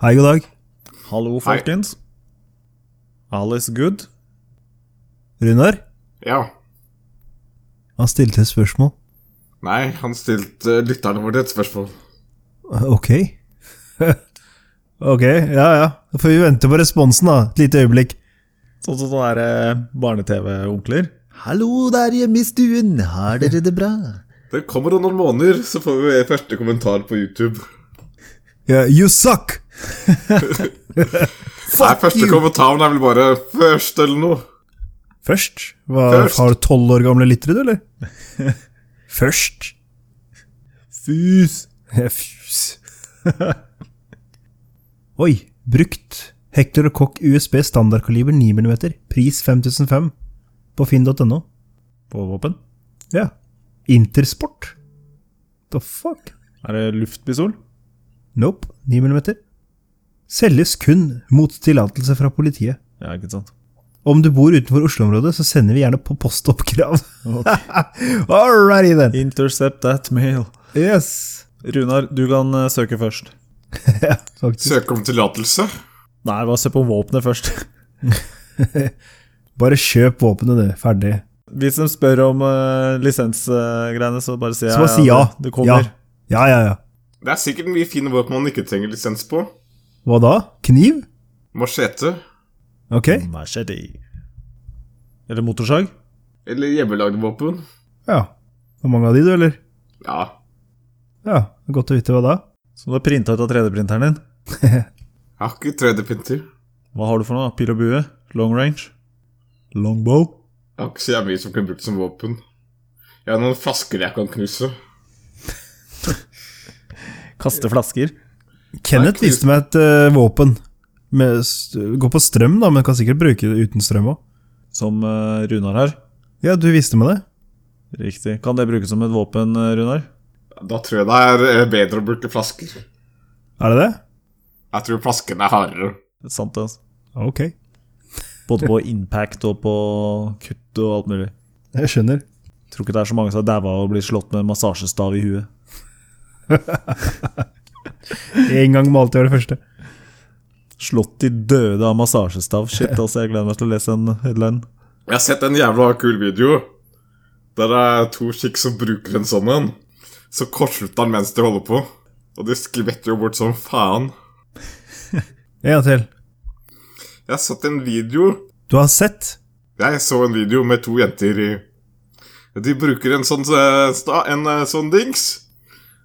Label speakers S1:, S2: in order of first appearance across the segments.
S1: Hei, god dag.
S2: Hallo, folkens. Alice Good?
S1: Runar?
S3: Ja.
S1: Han stilte et spørsmål.
S3: Nei, han stilte eh, lytterne våre et spørsmål.
S1: Eh, Ok. ok, ja ja. Da får vi vente på responsen, da. Et lite øyeblikk.
S2: Sånn som sånne der, eh, barne-TV-onkler? Hallo der hjemme i stuen, har dere det bra?
S3: Det kommer om noen måneder, så får vi første kommentar på YouTube.
S1: Ja, you suck!
S3: Nei, første kommentaren er vel bare 'først' eller noe.
S1: Først? Hva,
S3: Først.
S1: Har du tolv år gamle lyttere, du, eller? Først?
S2: Fus!
S1: Ja, Fus. Oi, brukt. Hector Koch USB standardkaliber 9 mm. Pris 5005. På finn.no.
S2: På våpen?
S1: Ja. Intersport? The fuck?
S2: Er det luftpistol?
S1: Nope. 9 mm. Selges kun mot tillatelse fra politiet.
S2: Ja, ikke sant.
S1: Om du bor utenfor Oslo-området, så sender vi gjerne på postoppkrav. Alrighty then.
S2: Intercept that mail.
S1: Yes.
S2: Runar, du kan eh, søke først.
S1: ja, faktisk.
S3: Søke om tillatelse.
S2: Nei, bare se på våpenet først.
S1: Bare kjøp våpenet, du. Ferdig.
S2: Hvis de spør om eh, lisensgreiene, så bare si
S1: Så bare si ja.
S2: Det, det kommer.
S1: Ja. ja, ja, ja.
S3: Det er sikkert mye fine våpen man ikke trenger lisens på.
S1: Hva da? Kniv?
S3: Machete.
S1: Ok.
S2: Machete. Eller motorsag?
S3: Eller hjemmelagde våpen.
S1: Ja. Hvor mange av de, du, eller?
S3: Ja.
S1: Ja, godt å vite hva da.
S2: Som du har printa ut av 3D-printeren din?
S3: Jeg har ikke 3D-printer. Jeg
S2: Hva har du for noe? Pil og bue? Long range? Longbow?
S3: har ikke så jævlig mye som kan brukes som våpen. Jeg har noen flasker jeg kan knuse.
S2: Kaste flasker?
S1: Kenneth
S3: Nei,
S1: viste meg et eh, våpen. Med, s- går på strøm, da, men kan sikkert bruke det uten strøm òg.
S2: Som eh, Runar har?
S1: Ja, du viste meg det.
S2: Riktig. Kan det brukes som et våpen, eh, Runar?
S3: Da tror jeg det er eh, bedre å bruke flasker.
S1: Er det det?
S3: Jeg tror flaskene er hardere.
S2: Det er sant, det, altså.
S1: Ok.
S2: Både på impact og på kutt og alt mulig.
S1: Jeg skjønner.
S2: Tror ikke det er så mange som har daua og blitt slått med en massasjestav i huet.
S1: En gang må alltid være det første.
S2: Slått til døde av massasjestav. Shit, altså, jeg gleder meg til å lese en headline.
S3: Jeg har sett en jævla kul video. Der det er to chicks som bruker en sånn en. Så kortslutter han mens de holder på. Og de skvetter jo bort som faen.
S1: En gang til.
S3: Jeg har sett en video
S1: Du har sett?
S3: Jeg så en video med to jenter i De bruker en sånn, eh, sta- en eh, sånn dings.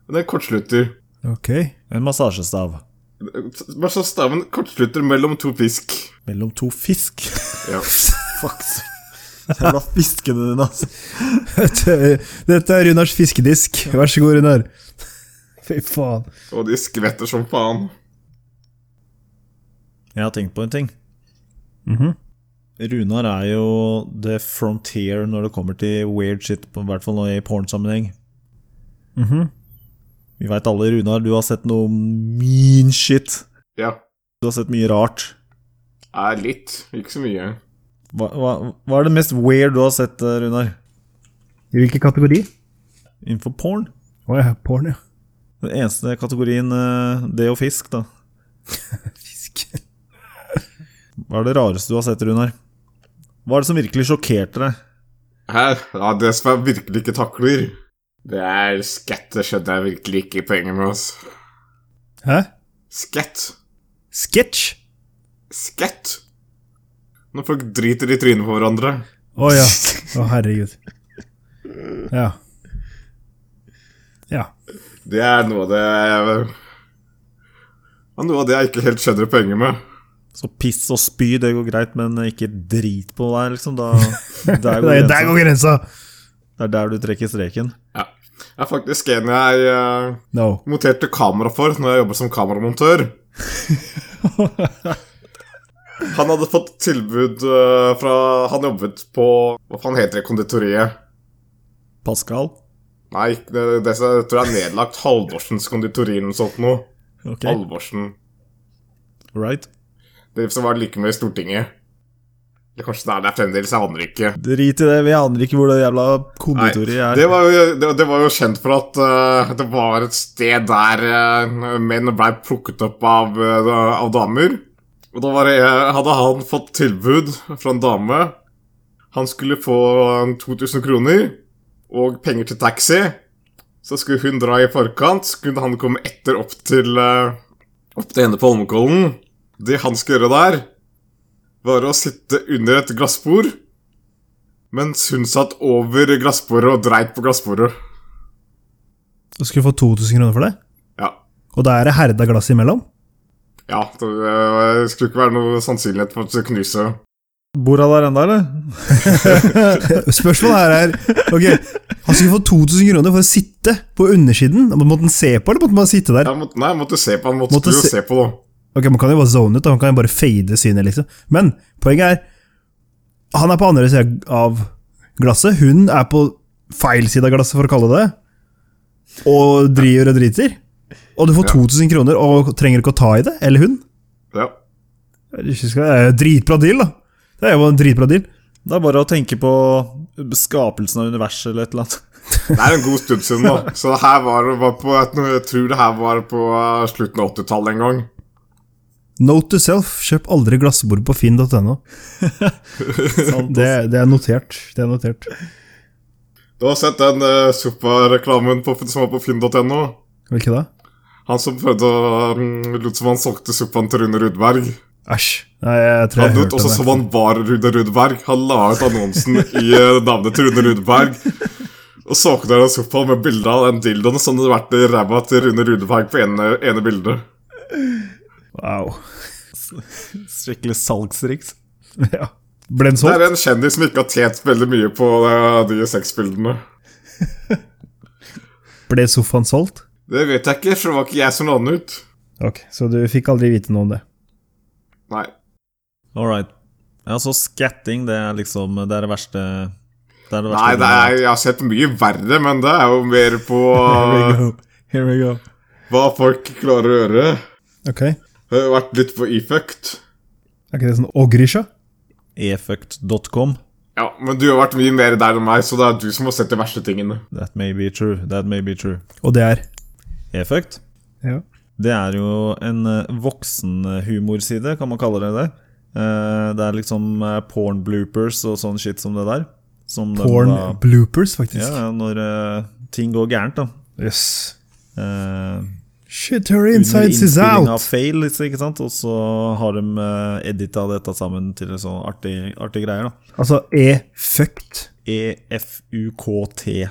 S3: Men den kortslutter.
S1: Ok.
S2: En massasjestav
S3: Bare så staven kortslutter mellom to fisk.
S2: mellom to fisk.
S3: Ja.
S2: Fuck. Jævla fiskene dine, altså.
S1: Dette er Runars fiskedisk. Vær så god, Runar. Fy faen.
S3: Og de skvetter som faen.
S2: Jeg har tenkt på en ting.
S1: Mhm.
S2: Runar er jo the frontier når det kommer til weird shit, på- i hvert fall nå i pornsammenheng. Vi veit alle, Runar, du har sett noe mean shit.
S3: Ja.
S2: Du har sett mye rart.
S3: Eh, litt. Ikke så mye.
S2: Hva, hva, hva er det mest weird du har sett, eh, Runar?
S1: I hvilken kategori?
S2: Innenfor porn?
S1: Å ja, porn, ja.
S2: Den eneste kategorien eh, det og fisk, da.
S1: Fisk.
S2: Hva er det rareste du har sett, Runar? Hva er det som virkelig sjokkerte deg?
S3: Her, ja, det som jeg virkelig ikke takler Det er skett, det skjønner jeg virkelig ikke poenget med, altså.
S1: Hæ?
S3: Skett.
S1: Sketsj?
S3: Skett. Når folk driter i trynet på hverandre.
S1: Å ja. Å herregud. Ja. Ja.
S3: Det er noe av det ja, Noe av det jeg ikke helt skjønner poenget med.
S2: Så piss og spy, det går greit, men ikke drit på deg, liksom. Da,
S1: Der,
S2: der, går grensa.
S1: der går grensa!
S2: Det er der du trekker streken.
S3: Ja. Det er faktisk en jeg eh,
S1: No.
S3: monterte kamera for når jeg jobba som kameramontør. Han hadde fått tilbud eh, fra Han jobbet på Hva faen heter det konditoriet?
S2: Pascal?
S3: Nei, ikke det, det som- jeg tror jeg er nedlagt Halvorsens konditori eller noe sånt noe.
S2: Ok,
S3: Halvorsen.
S2: right.
S3: Det som var like med i Stortinget. Eller kanskje det er der fremdeles, jeg aner ikke.
S2: Drit i det, vi aner ikke hvor det jævla
S3: Nei,
S2: konditoriet er.
S3: det, var jo, det, det var jo kjent for at eh, det var et sted der eh, menn ble plukket opp av, eh, av damer. Og da var det, eh, hadde han fått tilbud fra en dame. Han skulle få eh, 2000 kroner og penger til taxi. Så skulle hun dra i forkant, så kunne han komme etter opp til, eh, opp til henne på Holmenkollen. Det han skulle gjøre der, var å sitte under et glassbord. Mens hun satt over glassbordet og dreit på glassbordet.
S1: Du skulle få 2000 kroner for det?
S3: Ja.
S1: Og da er det herda glass imellom?
S3: Ja, det øh, skulle ikke være noe sannsynlighet for at det knuse.
S2: Bor han der ennå, eller?
S1: Spørsmålet her er Ok, han skulle få 2000 kroner for å sitte på undersiden. Måtte han se på, eller måtte man sitte der?
S3: Jeg måtte, nei, jeg måtte se på han. Måtte,
S1: Måtte
S3: skulle jo
S1: se-
S3: se på det.
S1: Ok, Man kan jo bare zone ut, da. man kan jo bare fade synet, liksom. Men poenget er Han er på andre sida av glasset. Hun er på feil side av glasset, for å kalle det det. Og driver og driter. Og du får
S3: Ja.
S1: 2000 kroner og trenger ikke å ta i det. Eller hun.
S3: Ja.
S1: Jeg synes ikke Det er jo dritbra deal, da. Det er jo en dritbra deal.
S2: Det er bare å tenke på skapelsen av universet eller et eller annet.
S3: Det er en god stund siden, da. Så det her var, var på et, Jeg tror det her var på øh, slutten av 80-tallet en gang.
S1: Note to self, kjøp aldri glassbord på finn.no.
S2: Sant,
S1: Det, det er notert. Det er notert.
S3: Du har sett den uh, Suppa-reklamen på- som var på finn.no?
S1: Hvilke da?
S3: Han som prøvde å øh, Lot som han solgte suppaen til Rune Rudberg.
S1: Æsj. Nei, jeg tror jeg
S3: Han
S1: har
S3: lot
S1: hørt
S3: også
S1: om
S3: som
S1: det.
S3: han var Rune Rudberg. Han la ut annonsen i eh, navnet til Rune Rudberg. Og savner en sofa med bilde av den dildoen som hadde vært i ræva til Rune Rudberg på ene, ene bildet.
S1: Wow.
S2: ass. Skikkelig salgstriks.
S1: Ja. Ble den
S3: Det
S1: solgt?
S3: er en kjendis som ikke har tjent veldig mye på eh, de sexbildene.
S1: Ble sofaen solgt?
S3: Det vet jeg ikke, for det var ikke jeg som la den ut.
S1: Ok, så du fikk aldri vite noe om det.
S3: Nei.
S2: All right. Ja, så skatting, det er liksom Det er det verste Det er det
S3: Nei,
S2: verste
S3: det er, jeg har sett mye verre, men det er jo mer på
S2: Here
S1: Uh,
S2: we
S3: eh,
S2: go. Here we go.
S3: hva folk klarer å gjøre.
S1: Ok, er
S3: Jeg har vært litt på e-fucked.
S1: ikke det sånn ogrisha?
S2: Efucked.com.
S3: Ja, men du har vært mye mer der enn meg, så det er du som har sett de verste tingene.
S2: That may be true. That may be true.
S1: Og det er?
S2: Efucked.
S1: Ja.
S2: Det er jo en eh, voksenhumorside, kan man kalle det det. Eh, Det er liksom eh, porn bloopers og sånn shit som det der. Som de
S1: Porn
S2: da-
S1: bloopers, faktisk.
S2: uh, Ja, når eh, ting går gærent, da.
S1: Yes.
S2: Eh,
S1: Shit, her
S2: under
S1: insides is
S2: innspilling av
S1: out!
S2: fail, liksom, ikke sant? Og så har de uh, edita dette sammen til en sånn artig, artig greier, da.
S1: Altså, e-fucked.
S2: E EFUKT. E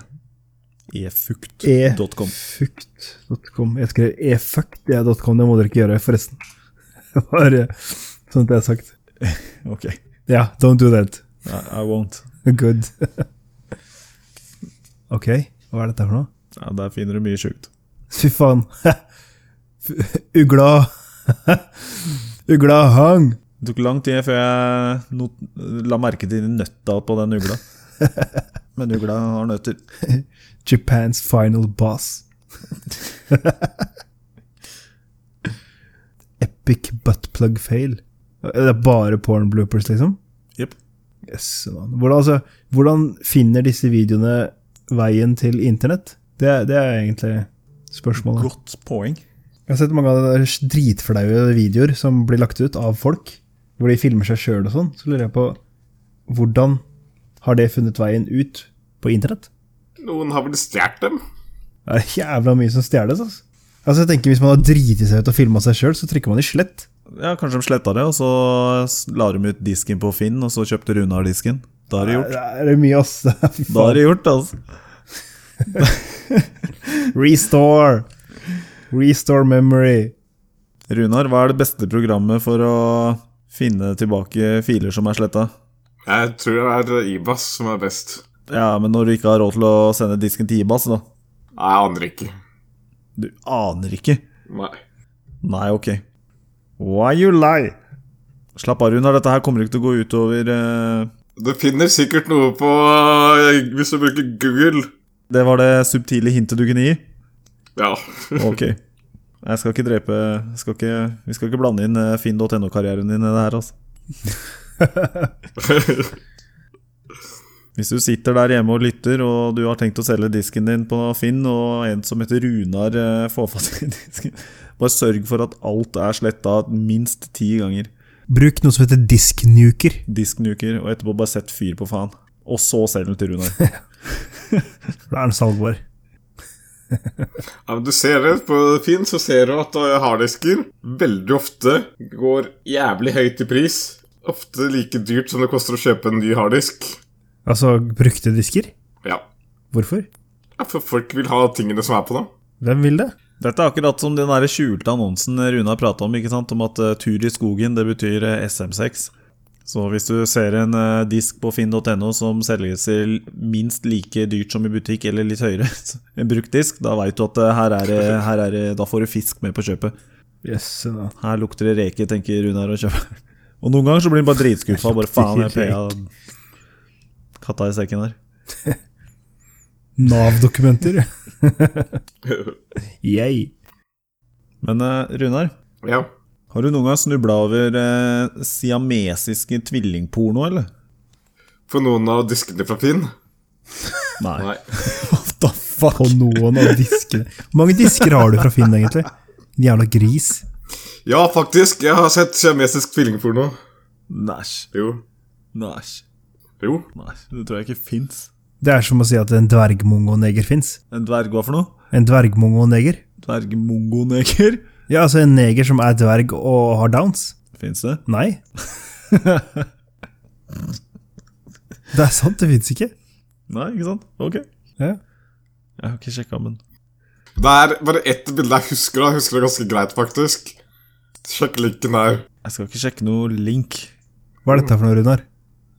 S2: Efukt.com.
S1: E-fucked.com. Jeg skrev e-fucked, det er .com, det må dere ikke gjøre, forresten. Det var eh, sånn at det er sagt.
S2: Ok.
S1: Ja, don't do that.
S2: I, I won't.
S1: Good. ok, hva er dette for noe?
S2: Ja, der finner du mye sjukt.
S1: Fy faen. F- Ugla Ugla hang.
S2: Det tok lang tid før jeg not la merke til nøtta på den ugla. Men ugla har nøtter.
S1: Japans final boss. Epic buttplug fail. Det er bare porn bloopers, liksom?
S2: Jepp.
S1: Yes, man. hvordan, altså, hvordan finner disse videoene veien til internett? Det, er- det er egentlig spørsmålet.
S2: Godt poeng.
S1: Jeg har sett mange av de der dritflaue videoer som blir lagt ut av folk, hvor de filmer seg sjøl og sånn. Så lurer jeg på hvordan har det funnet veien ut på internett?
S3: Noen har vel stjålet dem?
S1: Det er jævla mye som stjeles, altså. Altså jeg tenker Hvis man har driti seg ut og filma seg sjøl, så trykker man i slett.
S2: Ja, Kanskje de sletta det, og så s- la de ut disken på Finn, og så kjøpte Runar disken. Da er det gjort.
S1: Det er mye, ass. Fy
S2: Da er
S1: faen.
S2: det gjort, altså.
S1: Restore! Restore memory.
S2: Runar, hva er det beste programmet for å finne tilbake filer som er sletta?
S3: Jeg tror det er Ibas som er best.
S2: Ja, men når du ikke har råd til å sende disken til Ibas, da.
S3: Nei, jeg aner ikke.
S2: Du aner ikke.
S3: Nei.
S2: Nei, ok. Why you lie? Slapp av, Runar. Dette her kommer ikke til å gå utover eh,
S3: Du finner sikkert noe på eh, Hvis du bruker Google.
S2: Det var det subtile hintet du kunne gi?
S3: Ja.
S2: Ok. Jeg skal ikke drepe jeg skal ikke, Vi skal ikke blande inn eh, finn.no-karrieren din i det her, altså. Hvis du sitter der hjemme og lytter, og du har tenkt å selge disken din på Finn, og en som heter Runar eh, får fatt i disken Bare sørg for at alt er sletta minst ti ganger.
S1: Bruk noe som heter disknuker.
S2: Disknuker, og etterpå bare sett fyr på faen. Og så selg den til Runar.
S1: Da er den salgbar.
S3: Ja, men du ser det på Finn, så ser du at eh, harddisker veldig ofte går jævlig høyt i pris. Ofte like dyrt som det koster å kjøpe en ny harddisk.
S1: Altså brukte disker?
S3: Ja.
S1: Hvorfor?
S3: ja, for folk vil ha tingene som er på dem.
S1: Hvem vil det?
S2: Dette er akkurat som den der skjulte annonsen Runar prata om, ikke sant? om at eh, tur i skogen det betyr eh, SM6. Så hvis du ser en eh, disk på finn.no som selges til minst like dyrt som i butikk, eller litt høyere, så- en brukt disk, da veit du at eh, her er, det- her er det- da får du fisk med på kjøpet.
S1: Yes, no.
S2: Her lukter det reke, tenker Runar og kjøper. Og noen ganger så blir han bare dritskuffa. Bare faen, jeg paya katta i sekken her.
S1: Nav-dokumenter. Yay.
S2: Men eh, Runar,
S3: ja.
S2: har du noen gang snubla over eh, siamesiske tvillingporno, eller?
S3: På noen av diskene fra Finn.
S2: Nei.
S3: Nei.
S2: What the fuck?
S1: På noen av diskene. Hvor mange disker har du fra Finn, egentlig? En jævla gris.
S3: Ja, faktisk. Jeg har sett siamesisk tvillingporno.
S2: Næsj.
S3: Jo.
S2: Næsj.
S3: Jo.
S2: Næsj. Det tror jeg ikke fins.
S1: Det er som å si at en dvergmongoneger fins.
S2: En dverg hva for noe?
S1: En dvergmongoneger?
S2: Dvergmongoneger?
S1: Ja, altså en neger som er dverg og har downs.
S2: Fins det?
S1: Nei. Det er sant, det fins ikke.
S2: Nei, ikke sant? Ok.
S1: Ja.
S2: Jeg har ikke sjekka, men
S3: Det er bare ett bilde jeg husker. da. Jeg husker det ganske greit, faktisk. Sjekk linken her.
S2: Jeg skal ikke sjekke noe link.
S1: Hva er dette for noe, Runar?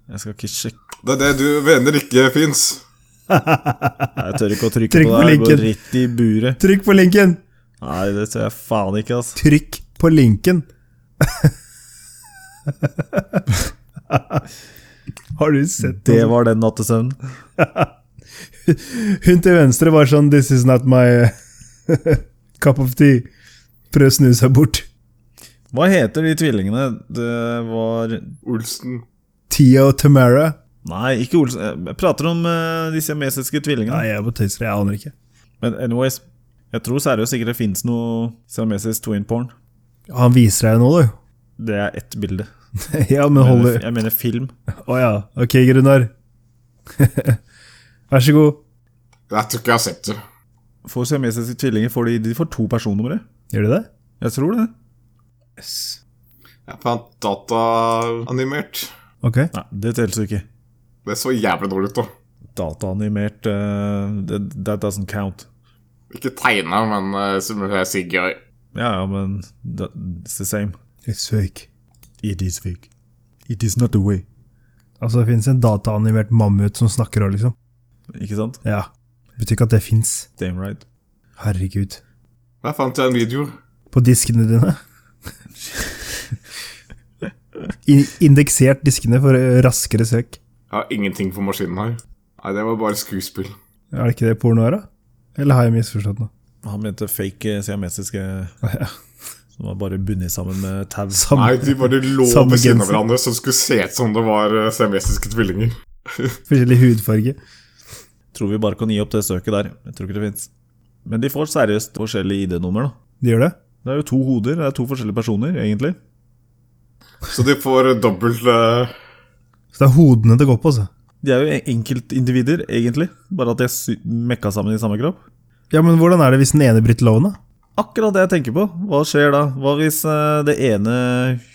S2: Jeg skal ikke sjekke
S3: Det er det du mener ikke fins.
S2: Nei, Jeg tør ikke å trykke
S1: Trykk
S2: på
S1: på
S2: det. Jeg går
S1: linken.
S2: rett i buret.
S1: Trykk på linken!
S2: Nei, det tør jeg faen ikke, altså.
S1: Trykk på linken! Har du sett
S2: Det var den nattesøvnen.
S1: Hun til venstre var sånn This is not my cup of tea. Prøv å snu seg bort.
S2: Hva heter de tvillingene? Det var
S3: Olsen.
S1: Tia og Tamara.
S2: Nei, ikke Olsen. Jeg prater om eh, de siamesiske tvillingene.
S1: Nei, jeg er på tøyser. Jeg aner ikke.
S2: Men anyways, jeg tror seriøst ikke det fins noe siamesisk twin porn.
S1: Han viser deg jo nå, du.
S2: Det er ett bilde.
S1: ja, men
S2: Jeg
S1: holder
S2: mener, jeg mener film.
S1: Å ja. Ok, Grunar. Vær så god.
S3: Jeg tror ikke jeg har sett det.
S2: For siamesiske tvillinger får de, de får to personnumre.
S1: Gjør du det?
S2: Jeg tror det.
S1: Yes.
S3: Jeg fant dataanimert.
S1: Ok.
S2: Nei, det teller jo ikke.
S3: Det så jævlig dårlig ut, da.
S2: Dataanimert eh, that, that doesn't count.
S3: Ikke tegna, men eh, som jeg sier gøy.
S2: Ja, ja, men that, it's the same.
S1: It's fake.
S2: It is fake. It is not the way.
S1: Altså, det fins en dataanimert mammut som snakker òg, liksom.
S2: Ikke sant?
S1: Ja. Betyr ikke at det fins.
S2: Damn right.
S1: Herregud.
S3: Der fant jeg en video.
S1: På diskene dine? In indeksert diskene for eh, raskere søk.
S3: Jeg har ingenting på maskinen her. Nei, det var bare skuespill.
S1: Er det ikke det porno er, da? Eller har jeg misforstått noe?
S2: Han mente fake eh, siamesiske som var bare bundet sammen med tau.
S1: Samme,
S3: Nei, de bare lå
S1: Samme
S3: ved siden av
S1: genser.
S3: hverandre som skulle se ut som det var eh, siamesiske tvillinger.
S1: forskjellig hudfarge.
S2: Tror vi bare kan gi opp det søket der. Jeg tror ikke det fins. Men de får seriøst forskjellig ID-nummer, da.
S1: De gjør det?
S2: Det er jo to hoder, det er to forskjellige personer, egentlig.
S3: Så de får eh, dobbelt eh,
S1: Så det er hodene det går på, altså.
S2: De er jo enkeltindivider, egentlig. Bare at de er sy- mekka sammen i samme kropp.
S1: Ja, men hvordan er det hvis den ene bryter loven, da?
S2: Akkurat det jeg tenker på. Hva skjer da? Hva hvis eh, det ene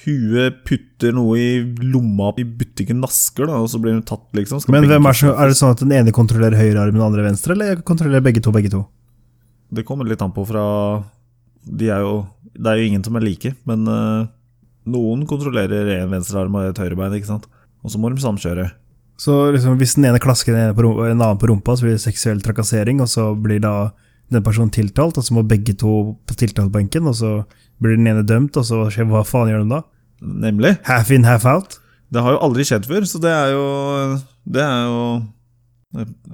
S2: huet putter noe i lomma i butikken Nasker, da, og så blir hun tatt, liksom? Skal
S1: Men
S2: begge-
S1: hvem er, så, er det sånn at den ene kontrollerer høyre arm, den andre venstre, eller kontrollerer begge to begge to?
S2: Det kommer litt an på fra De er jo Det er jo ingen som er like, men eh, noen kontrollerer en venstrearm og et høyrebein, ikke sant? Og så må de samkjøre.
S1: Så liksom, hvis den ene klasker den ene på rumpa, en annen på rumpa, så blir det seksuell trakassering, og så blir da den personen tiltalt, og så må begge to på tiltalebenken, og så blir den ene dømt, og så skjer hva faen gjør de da?
S2: Nemlig.
S1: Half in, half out?
S2: Det har jo aldri skjedd før, så det er jo Det er jo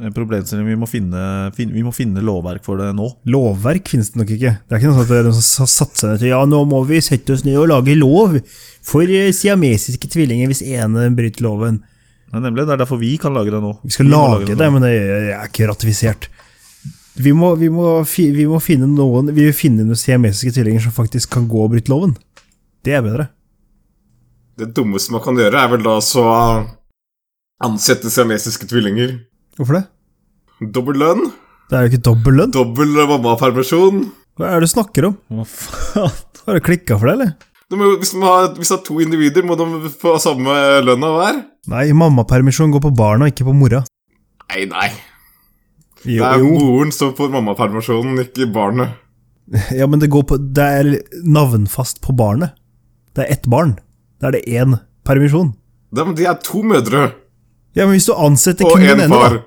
S2: En problemstilling vi må finne, fin, vi må finne lovverk for det nå.
S1: Lovverk finnes det nok ikke. Det er ikke noe sånn at det er noen som har satt seg ned til Ja, nå må vi sette oss ned og lage lov for eh, siamesiske tvillinger hvis ene bryter loven.
S2: Nei, nemlig, Det er derfor vi kan lage det nå.
S1: Vi skal
S2: må
S1: lage det,
S2: nå.
S1: men det er ikke ratifisert. Vi må, vi må, fi, vi må finne noen Vi vil finne noen siamesiske tvillinger som faktisk kan gå og bryte loven. Det er bedre.
S3: Det dummeste man kan gjøre, er vel da så ansette siamesiske tvillinger.
S1: Hvorfor det?
S3: Dobbel lønn,
S1: Det er jo ikke dobbel lønn.
S3: dobbel mammapermisjon.
S1: Hva er det du snakker om?
S2: Hva faen?
S1: Har du klikka for det, eller?
S3: De må, hvis, de har, hvis det er to individer, må de få samme lønna hver?
S1: Nei, mammapermisjon går på barna, ikke på mora.
S3: Nei, nei. Det
S1: Jo,
S3: er
S1: jo.
S3: moren som får mammapermisjonen, ikke barnet.
S1: Ja, men det, går på, det er navnfast på barnet. Det er ett barn. Da er det én permisjon.
S3: De, de er to mødre
S1: Ja, men hvis du ansetter
S3: og
S1: kun den
S3: én
S1: ene,
S3: far.
S1: da.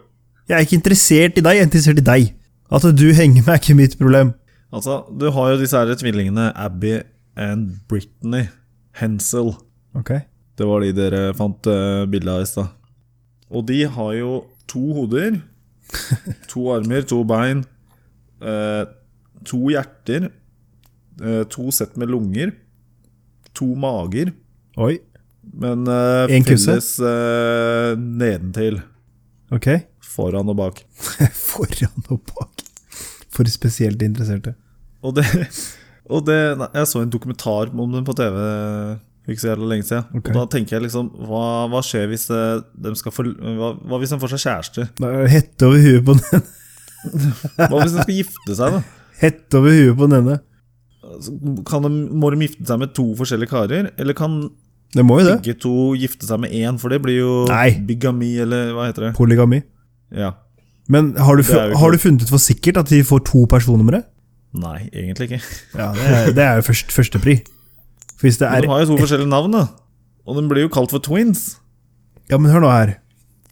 S1: Jeg er ikke interessert i deg, jeg er interessert i deg. At du henger med er ikke mitt problem.
S2: Altså, du har jo disse her tvillingene Abby and Britney Hensel.
S1: Ok.
S2: Det var de dere fant eh, bilde av i stad. Og de har jo to hoder, to armer, to bein, eh, to hjerter, eh, to sett med lunger, to mager,
S1: Oi.
S2: men eh,
S1: En kusse?
S2: felles eh, nedentil.
S1: Ok.
S2: Foran og bak.
S1: Foran og bak. For spesielt interesserte.
S2: Og det, og det nei, Jeg så en dokumentar om den på TV for ikke så jævla lenge siden.
S1: Ok.
S2: Og da tenker jeg liksom Hva, hva skjer hvis eh, de skal få hva, hva hvis de får seg kjæreste?
S1: Da er det Hette over huet på den ene.
S2: Hva hvis de skal gifte seg, da?
S1: Hette over huet på den ene.
S2: Altså, Kan de, må de gifte seg med to forskjellige karer? Eller kan
S1: Det må jo det.
S2: begge to gifte seg med én? For det blir jo
S1: Nei.
S2: bigami, eller hva heter det?
S1: Polygami.
S2: Ja.
S1: Men har du,
S2: Det er jo ikke-
S1: har du funnet ut for sikkert at de får to personnumre?
S2: Nei, egentlig ikke.
S1: Ja, det er, det er jo først, førstepri. For hvis det
S2: Men
S1: er
S2: de har jo to forskjellige navn, da. Og de blir jo kalt for twins.
S1: Ja, men hør nå her.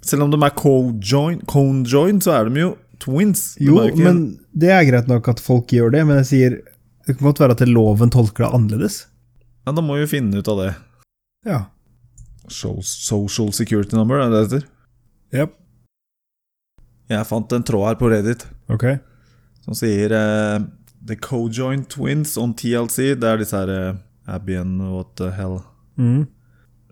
S2: Selv om de er co-join, conjoined, så er de jo twins. De
S1: Jo,
S2: er jo ikke-
S1: men det er greit nok at folk gjør det, men jeg sier det kan godt være at loven tolker det annerledes.
S2: Ja, da må vi finne ut av det.
S1: Ja.
S2: So- Social security number, er det det heter?
S1: Yep.
S2: Jeg fant en tråd her på Reddit
S1: Ok.
S2: som sier eh, The Cojoint Twins on TLC. Det er disse her eh, Abby and what the hell. Mm.
S1: Mhm.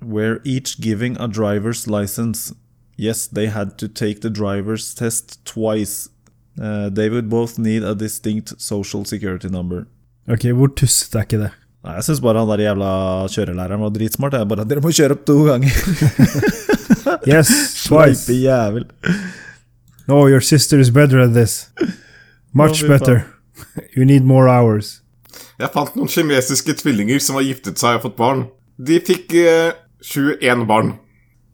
S2: Were each giving a driver's license. Yes, they had to take the driver's test twice. Eh, they would both need a distinct social security number.
S1: Ok, Hvor tussete er ikke det?
S2: Nei, Jeg syns bare han der jævla kjørelæreren var dritsmart. Jeg bare, Dere må kjøre opp to ganger!
S1: Yes, twice.
S2: Sveipe jævel.
S1: No, your sister is better at this. Much
S2: fy faen.
S1: better. You need more hours.
S3: Jeg fant noen kinesiske tvillinger som har giftet seg og fått barn. De fikk eh, 21 barn.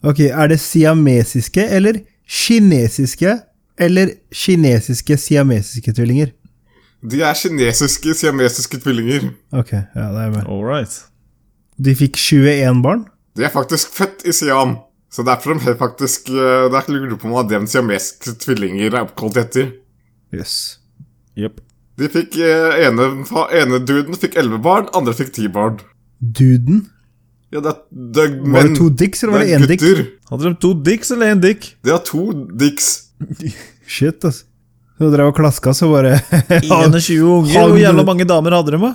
S1: Ok, er det siamesiske eller kinesiske eller kinesiske siamesiske tvillinger?
S3: De er kinesiske siamesiske tvillinger.
S1: Ok, ja, det er med.
S2: All right.
S1: De fikk 21 barn?
S3: De er faktisk født i Siam. Så derfor de er faktisk eh, Det er ikke lurt på om det er dem siamesiske tvillinger er oppkalt etter.
S1: Jøss. Yes.
S2: Jepp.
S3: De fikk eh, ene, fa- ene duden fikk 11 barn, andre fikk 10 barn.
S1: Duden?
S3: Ja, det er, det er
S1: Var
S3: menn.
S1: det to dicks, eller var det én dick?
S3: gutter.
S2: Hadde de to dicks eller én dick?
S3: De har to dicks.
S1: Shit, ass. Så drev og klaska, så bare ja,
S2: 21 unger?
S1: Hadde-
S2: Hvor jævla mange damer hadde de? da?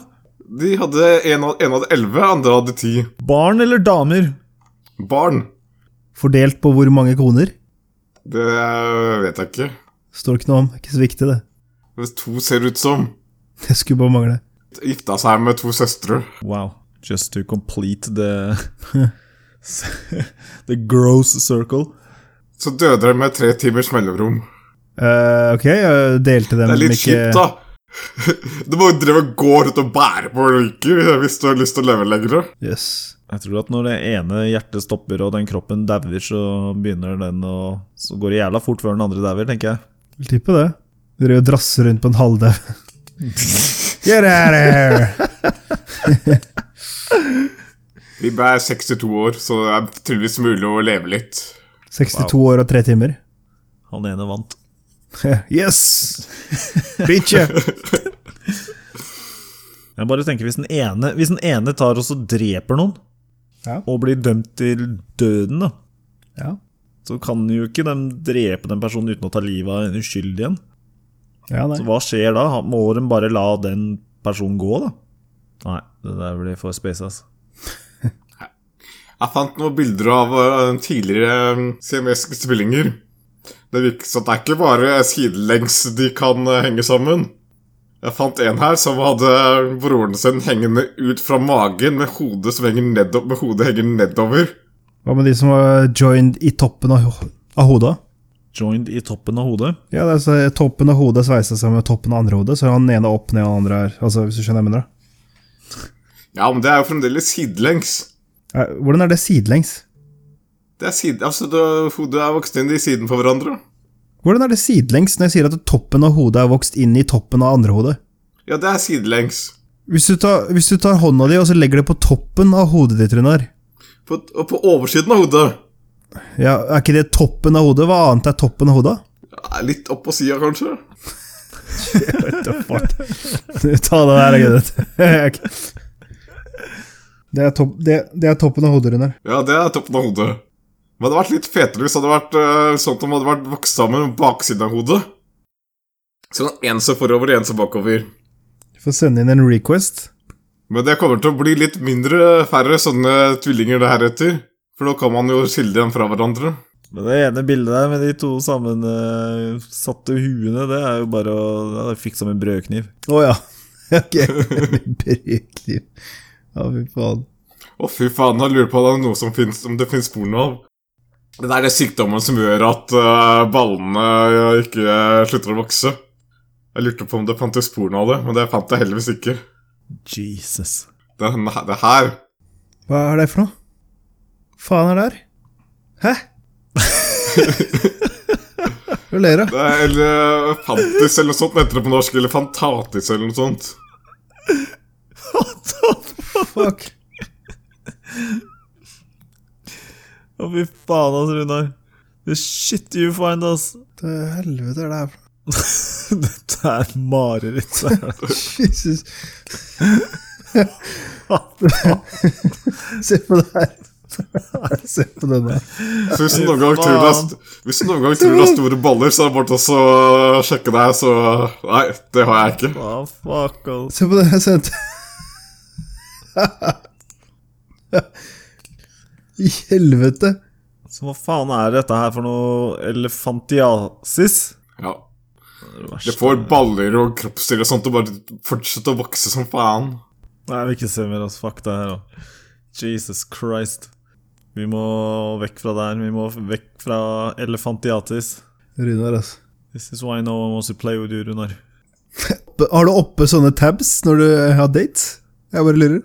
S3: De hadde en, av- en hadde 11, andre hadde 10
S2: Barn eller damer?
S3: barn.
S1: Fordelt på hvor mange koner?
S3: Det eh, vet jeg ikke.
S1: Står ikke noe om. Ikke så viktig, det.
S3: Hvis to ser ut som
S1: Det skulle bare mangle.
S3: Gifta seg med to søstre.
S2: Wow. Just to complete the The gross circle.
S3: Så døde de med tre timers mellomrom.
S1: Eh, ok, jeg delte dem
S3: Det er litt
S1: ikke
S3: kjipt, da. Du må jo drive og gå rundt og bære på røyker hvis du har lyst til å leve lenger.
S1: Yes.
S2: Jeg tror at når det ene hjertet stopper og den kroppen dauer, så begynner den å Så går det jævla fort før den andre dauer, tenker jeg.
S1: Vil tippe det. Du driver og drasser rundt på en halvdau. Get out of here!
S3: Vi ble 62 år, så det er tydeligvis mulig å leve litt.
S1: 62 år og tre timer.
S2: Han ene vant.
S1: Yes! Bitche!
S2: Jeg bare tenker Hvis den ene, hvis den ene tar og så dreper noen,
S1: Ja.
S2: og blir dømt til døden, da
S1: Ja.
S2: Så kan jo ikke de drepe den personen uten å ta livet av en uskyldig en.
S1: Ja, nei.
S2: Så hva skjer da? Må de bare la den personen gå, da? Nei, det der blir for space, altså.
S3: Jeg fant noen bilder av eh, tidligere CMS-ke tvillinger. Det virker som det er ikke bare sidelengs de kan eh, henge sammen. Jeg fant en her som hadde eh, broren sin hengende ut fra magen, med hodet som henger nedover. Med hodet henger nedover.
S1: Hva med de som var joined i toppen av, ho- av hodet?
S2: Joined i toppen av hodet.
S1: Ja, det er så, Toppen av hodet sveisa sammen med toppen av andre hodet, så han ene opp ned og den andre her. Altså, hvis du skjønner hva jeg mener.
S3: Ja, men det er jo fremdeles sidelengs.
S1: da. Eh, Hvordan er det sidelengs?
S3: Det er side, altså, det- Hodet er vokst inn i siden på hverandre.
S1: Hvordan er det sidelengs når jeg sier at toppen av hodet er vokst inn i toppen av andre hodet?
S3: Ja, det er sidelengs.
S1: Hvis du tar, hvis du tar hånda di og så legger det på toppen av hodet ditt, Runar
S3: På, og på oversiden av hodet.
S1: ja, Er ikke det toppen av hodet? Hva annet er toppen av hodet?
S3: Ja, Litt opp på sida, kanskje.
S1: What the fuck? Ta det der, Gunnet. Det er, topp, det, det er toppen av hodet, Runar.
S3: Ja, det er toppen av hodet. Men det hadde vært litt fetere hvis det hadde vært eh, sånn at de hadde vært vokst sammen med baksiden av hodet. Sånn en som forover, en som bakover.
S1: Du får sende inn en request.
S3: Men det kommer til å bli litt mindre færre sånne tvillinger det heretter. For nå kan man jo skille dem fra hverandre.
S2: Men det ene bildet der med de to eh, sammensatte huene, det er jo bare å ja, det Fikk som en brødkniv.
S1: Å ja. Ok. Brødkniv. Ja, fy faen.
S3: Å, fy faen, jeg lurer på om det er noe som finnes, om det finnes porno av. Det der er sykdommen som gjør at eh, ballene eh, ikke eh, slutter å vokse. Jeg lurte på om det fantes porno av det, men det fant jeg heldigvis ikke.
S2: Jesus.
S3: Det, det her
S1: Hva er det for noe? Faen er det her? Hæ? Hva ler du av?
S3: Det er elefantis eller noe sånt heter det på norsk. Elefantatis eller noe sånt.
S1: Fuck.
S2: Å, fy faen, ass, Runar. The shit you find, ass.
S1: Hva i helvete er det her for noe?
S2: Dette er mareritt.
S1: Jesus. Se på det her. Se på den der.
S3: Så hvis du noen gang tror det er, st- hvis du noen gang tror det er store baller, så er det bare til å så sjekke det her, så Nei, det har jeg ikke.
S2: Hva fuck, ass.
S1: Se på den jeg sendte. I helvete.
S2: Så hva faen er dette her for noe elefantiasis?
S3: Ja.
S2: Det er det verste.
S3: Det får baller og kroppsdeler og sånt og bare fortsetter å vokse som faen.
S2: Nei, vi ikke se mer, ass. Fuck det her, da. Jesus Christ. Vi må vekk fra der. Vi må vekk fra elefantiatis.
S1: Runar, altså.
S2: This is why no one wants to play with you, Runar.
S1: Har du oppe sånne tabs når du har dates? Jeg bare lurer.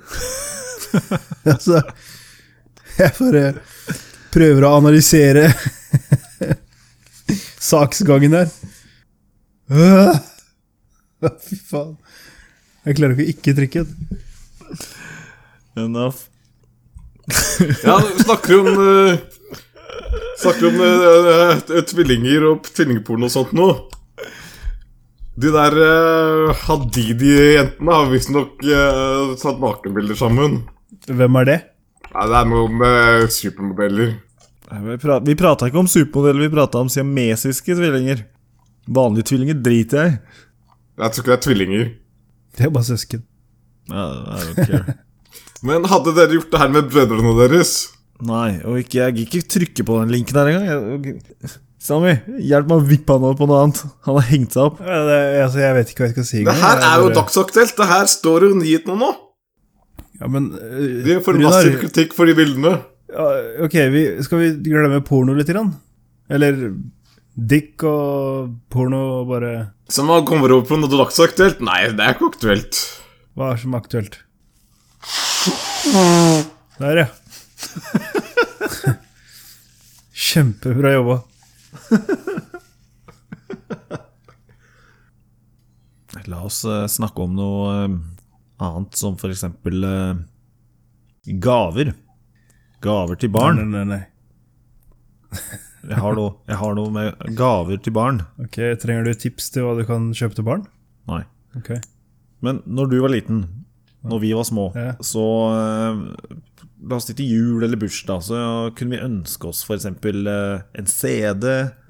S1: altså Jeg bare prøver å analysere saksgangen der. Øh. Fy faen. Jeg klarer ikke å ikke trykke.
S2: Enough.
S3: Ja, snakker om eh, Snakker om eh, eh, tvillinger og tvillingporno og sånt noe. De der eh, Hadidi-jentene har visstnok uh, tatt nakenbilder sammen.
S1: Hvem er det?
S3: Nei, det er noe med supermodeller.
S2: Nei, Vi, pra vi prata ikke om supermodeller, vi prata om siamesiske tvillinger. Vanlige tvillinger driter jeg i.
S3: Jeg tror ikke det er tvillinger.
S1: Det er bare søsken.
S2: Ja, I don't care.
S3: Men hadde dere gjort det her med brødrene deres?
S2: Nei, og ikke, jeg gikk ikke trykke på den linken her engang. Jeg- Sami, hjelp meg å vippe han over på noe annet. Han har hengt seg opp.
S1: Ja, det, altså, jeg vet ikke hva jeg skal si.
S3: Det
S1: engang.
S3: her
S1: Jeg
S3: er jo
S1: bare-
S3: dagsaktuelt. Det her står jo i nyhetene nå.
S1: Ja, men
S3: De
S1: uh,
S3: får massiv kritikk for de bildene.
S1: ja, Ok, vi, skal vi glemme porno litt? Grann? Eller dick og porno og bare
S3: Så man kommer over på noe dagsaktuelt? Nei, det er ikke aktuelt.
S1: Hva er som er aktuelt? Der, ja. Kjempebra jobba.
S2: La oss eh, snakke om noe eh, annet, som for eksempel eh, gaver. Gaver til barn.
S1: Nei, nei, nei.
S2: Jeg har, noe, jeg har noe med gaver til barn.
S1: Ok, Trenger du tips til hva du kan kjøpe til barn?
S2: Nei.
S1: Ok.
S2: Men når du var liten, når vi var små,
S1: Ja.
S2: så eh, La oss si til jul eller bursdag, så kunne vi ønske oss f.eks. en CD.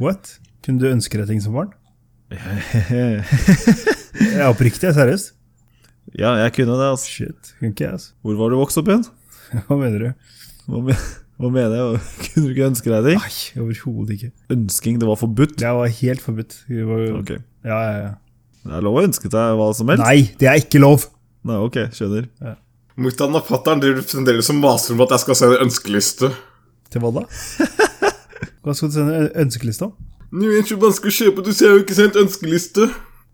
S1: What? Kunne du ønske deg ting som barn?
S2: ja,
S1: Jeg er oppriktig, jeg er seriøst.
S2: jeg kunne det, altså.
S1: Shit, kunne ikke jeg, altså.
S2: Hvor var du vokst opp igjen?
S1: Hva mener du?
S2: Hva, me Hva mener jeg? Kunne du ikke ønske deg ting?
S1: Nei, overhodet ikke.
S2: Ønsking, det var forbudt.
S1: Jeg var helt forbudt. Det var,
S2: Ok,
S1: ja, ja, ja.
S2: Det er lov å ønske seg hva som helst?
S1: Nei, det er ikke lov!
S2: Nei, ok, skjønner.
S3: Mutter'n og fatter'n driver fremdeles og maser om at jeg skal se en ønskeliste.
S1: Til hva da? Hva skal du sende ø- ønskeliste om?
S3: Nei, jeg tror man skal kjøpe, du ser jo ikke sendt ønskeliste.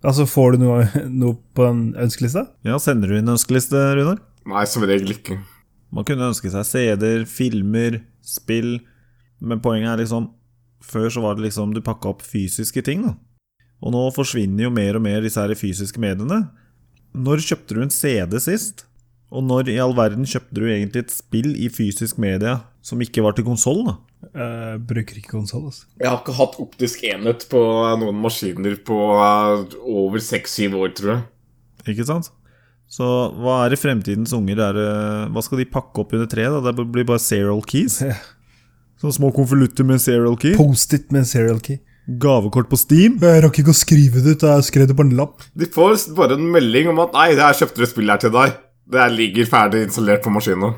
S1: Altså, får du noe, noe på en ønskeliste?
S2: Ja, Sender du inn ønskeliste, Runar?
S3: Nei, som regel ikke.
S2: Man kunne ønske seg CD-er, filmer, spill, men poenget er liksom Før så var det liksom du pakka opp fysiske ting, da. Og nå forsvinner jo mer og mer disse her fysiske mediene. Når kjøpte du en CD sist? Og når i all verden kjøpte du egentlig et spill i fysisk media som ikke var til konsoll, da?
S1: Eh, bruker ikke konsoll, altså.
S3: Jeg har ikke hatt optisk enhet på noen maskiner på eh, over seks-syv år, tror jeg.
S2: Ikke sant? Så hva er det fremtidens unger er det- Hva skal de pakke opp under treet? da? Det blir bare serial keys.
S1: Ja.
S2: Sånne små konvolutter med serial key.
S1: Post-it med en serial key.
S2: Gavekort på Steam.
S1: Jeg rakk ikke å skrive det ut, jeg skrev det på en lapp.
S3: De får bare en melding om at 'nei, det her kjøpte du et spill her til deg'. Det her ligger ferdig installert på maskina.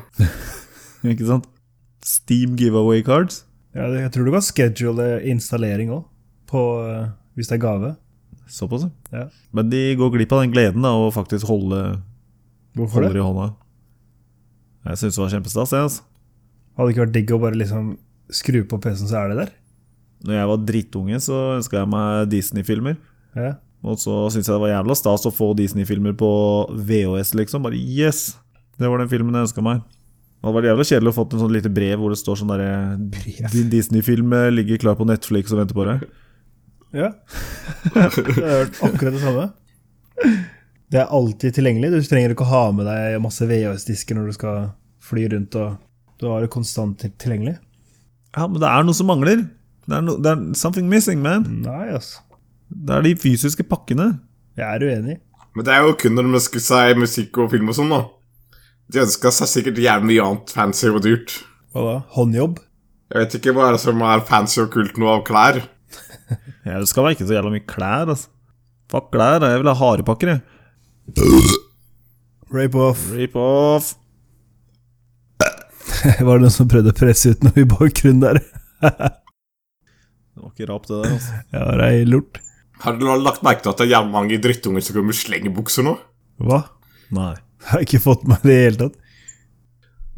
S2: Ikke sant? Steam giveaway cards.
S1: Ja, det- jeg tror du kan schedule installering òg, hvis det er gave.
S2: Såpass, ja.
S1: Ja.
S2: Men de går glipp av den gleden da, å faktisk holde
S1: Hvorfor
S2: holder
S1: det?
S2: i hånda. Jeg syns det var kjempestas. Jeg, altså.
S1: Hadde det ikke vært digg å bare liksom skru på PC-en, så er det der?
S2: Når jeg var drittunge, så ønska jeg meg Disney-filmer.
S1: Ja.
S2: Og så syntes jeg det var jævla stas å få Disney-filmer på VHS, liksom. Bare yes! Det var den filmen jeg ønska meg. Det hadde vært jævla kjedelig å fått en sånn lite brev hvor det står sånn derre Din Disney-film ligger klar på Netflix og venter på deg.
S1: ja. Det er akkurat det samme. Det er alltid tilgjengelig. Du trenger ikke å ha med deg masse VHS-disker når du skal fly rundt. og Du har det konstant til- tilgjengelig.
S2: Ja, men det er noe som mangler. Det er, no, det er something missing, man.
S1: Nei, altså.
S2: Det er de fysiske pakkene.
S1: Jeg er uenig.
S3: Men det er jo kun når de ønsker seg musikk og film og sånn, da. De ønsker seg sikkert jævlig mye annet fancy og dyrt.
S1: Hva da? Håndjobb?
S3: Jeg vet ikke hva er det som er fancy og kult noe av klær.
S2: Jeg ønsker meg ikke så jævla mye klær, altså. Fuck klær, jeg vil ha harepakker, jeg.
S1: Rape off.
S2: Rip off.
S1: Var det noen som prøvde å presse ut noe i bakgrunnen der?
S2: Det var ikke rap, det der, altså.
S1: Ja, det er lort.
S3: Har du lagt merke til at det er jævlig mange drittunger som går med slengebukser nå?
S1: Hva?
S2: Nei.
S1: Jeg har ikke fått med det i det hele tatt.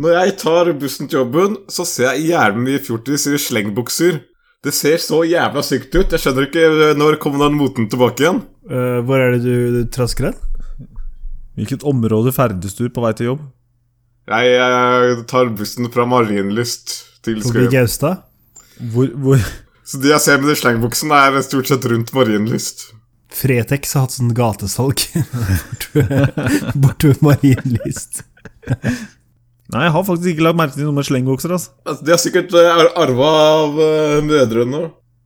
S3: Når jeg tar bussen til jobben, så ser jeg jævlig mye fjortis i slengebukser. Det ser så jævla sykt ut. Jeg skjønner ikke eh, når kom den moten tilbake igjen.
S1: Eh, hvor er det du, du trasker den?
S2: Hvilket område ferdes du på vei til jobb?
S3: Jeg, eh, tar bussen fra Marienlyst til
S1: Forbi
S3: Skøyen.
S1: Gaustad?
S2: Hvor, hvor
S3: Så de jeg ser med de slengebuksene, er stort sett rundt Marienlyst.
S1: Fretex har hatt sånn gatesalg bortover Marienlyst.
S2: Nei, jeg har faktisk ikke lagt merke til noe med slengbukser, altså.
S3: Altså, De har sikkert arva av eh, mødrene.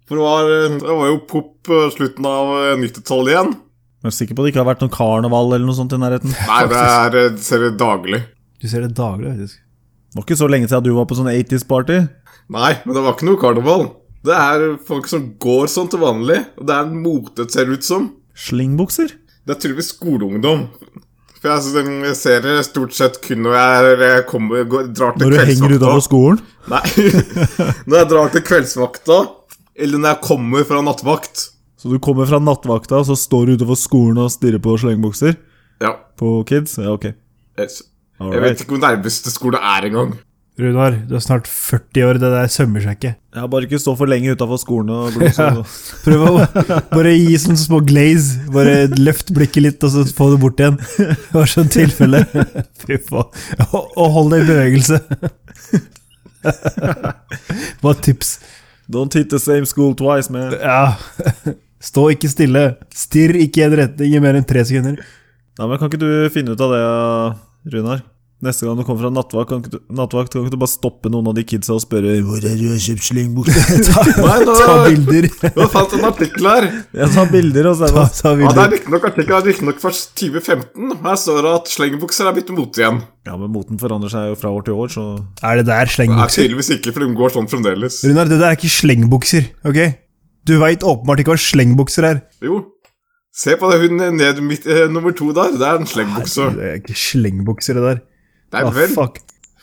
S3: For det var, det var jo pop eh, slutten av eh, 90-tallet igjen.
S2: Jeg er sikker på at det ikke har vært noen karneval eller noe sånt i nærheten. Det
S3: Nei, det er eh, ser det daglig.
S1: Du ser det daglig, faktisk.
S2: var ikke så lenge siden du var på sånn 80s-party.
S3: Nei, men det var ikke noe karneval. Det er folk som går sånn til vanlig. Og det er en mote, ser det ut som.
S2: Slengbukser?
S3: Det er tydeligvis skoleungdom. For jeg, ser- jeg ser det stort sett kun når jeg, jeg kommer, går, drar til
S2: Når du henger utafor skolen?
S3: Nei. når jeg drar til kveldsvakta, eller når jeg kommer fra nattvakt.
S2: Så du kommer fra nattvakta, så står du utafor skolen og stirrer på slengbukser?
S3: Ja.
S2: På kids? Ja, ok.
S3: Jeg,
S2: All
S3: jeg
S2: right.
S3: vet ikke hvor nærmeste skole er engang.
S1: Runar, du er snart 40 år, det der sømmer seg ikke.
S2: Jeg har bare ikke stå for lenge utafor skolen og glose.
S1: Prøv å bare gi sånne små glaze. Bare løft blikket litt, og så få det bort igjen. Det var sånn tilfelle. Fy faen. Og, og hold deg i bevegelse. Hva er tips?
S2: Don't hit the same school twice, man.
S1: Ja. Stå ikke stille. Stirr ikke i en retning i mer enn tre sekunder.
S2: Nei, men Kan ikke du finne ut av det, Runar? Neste gang du kommer fra nattvakt, kan ikke du, nattvakt, kan ikke du bare stoppe noen av de kidsa og spørre Hvor er det du har kjøpt slengbukse?
S1: Ta,
S3: Nei, da-
S1: ta bilder.
S3: Jeg fant en artikkel her.
S2: Jeg tar bilder og
S1: Ta,
S2: sender.
S1: ta
S3: Ja, Det
S1: bilder.
S3: er riktignok artikkel riktignok fra 2015. Her står det at slengebukser er blitt mote igjen.
S2: Ja, men moten forandrer seg jo fra år til år, så
S1: Er det der
S3: Det er
S1: slengbukser?
S3: tydeligvis ikke, for de går sånn fremdeles.
S1: Runar, det der er ikke slengbukser, ok? Du veit åpenbart ikke hva slengbukser er.
S3: Jo. Se på det, hun ned midt, eh, nummer to der. Det er en slengbukse.
S1: Det er ikke slengbukser, det der.
S3: Nei
S1: Ah,
S3: vel.
S1: fuck.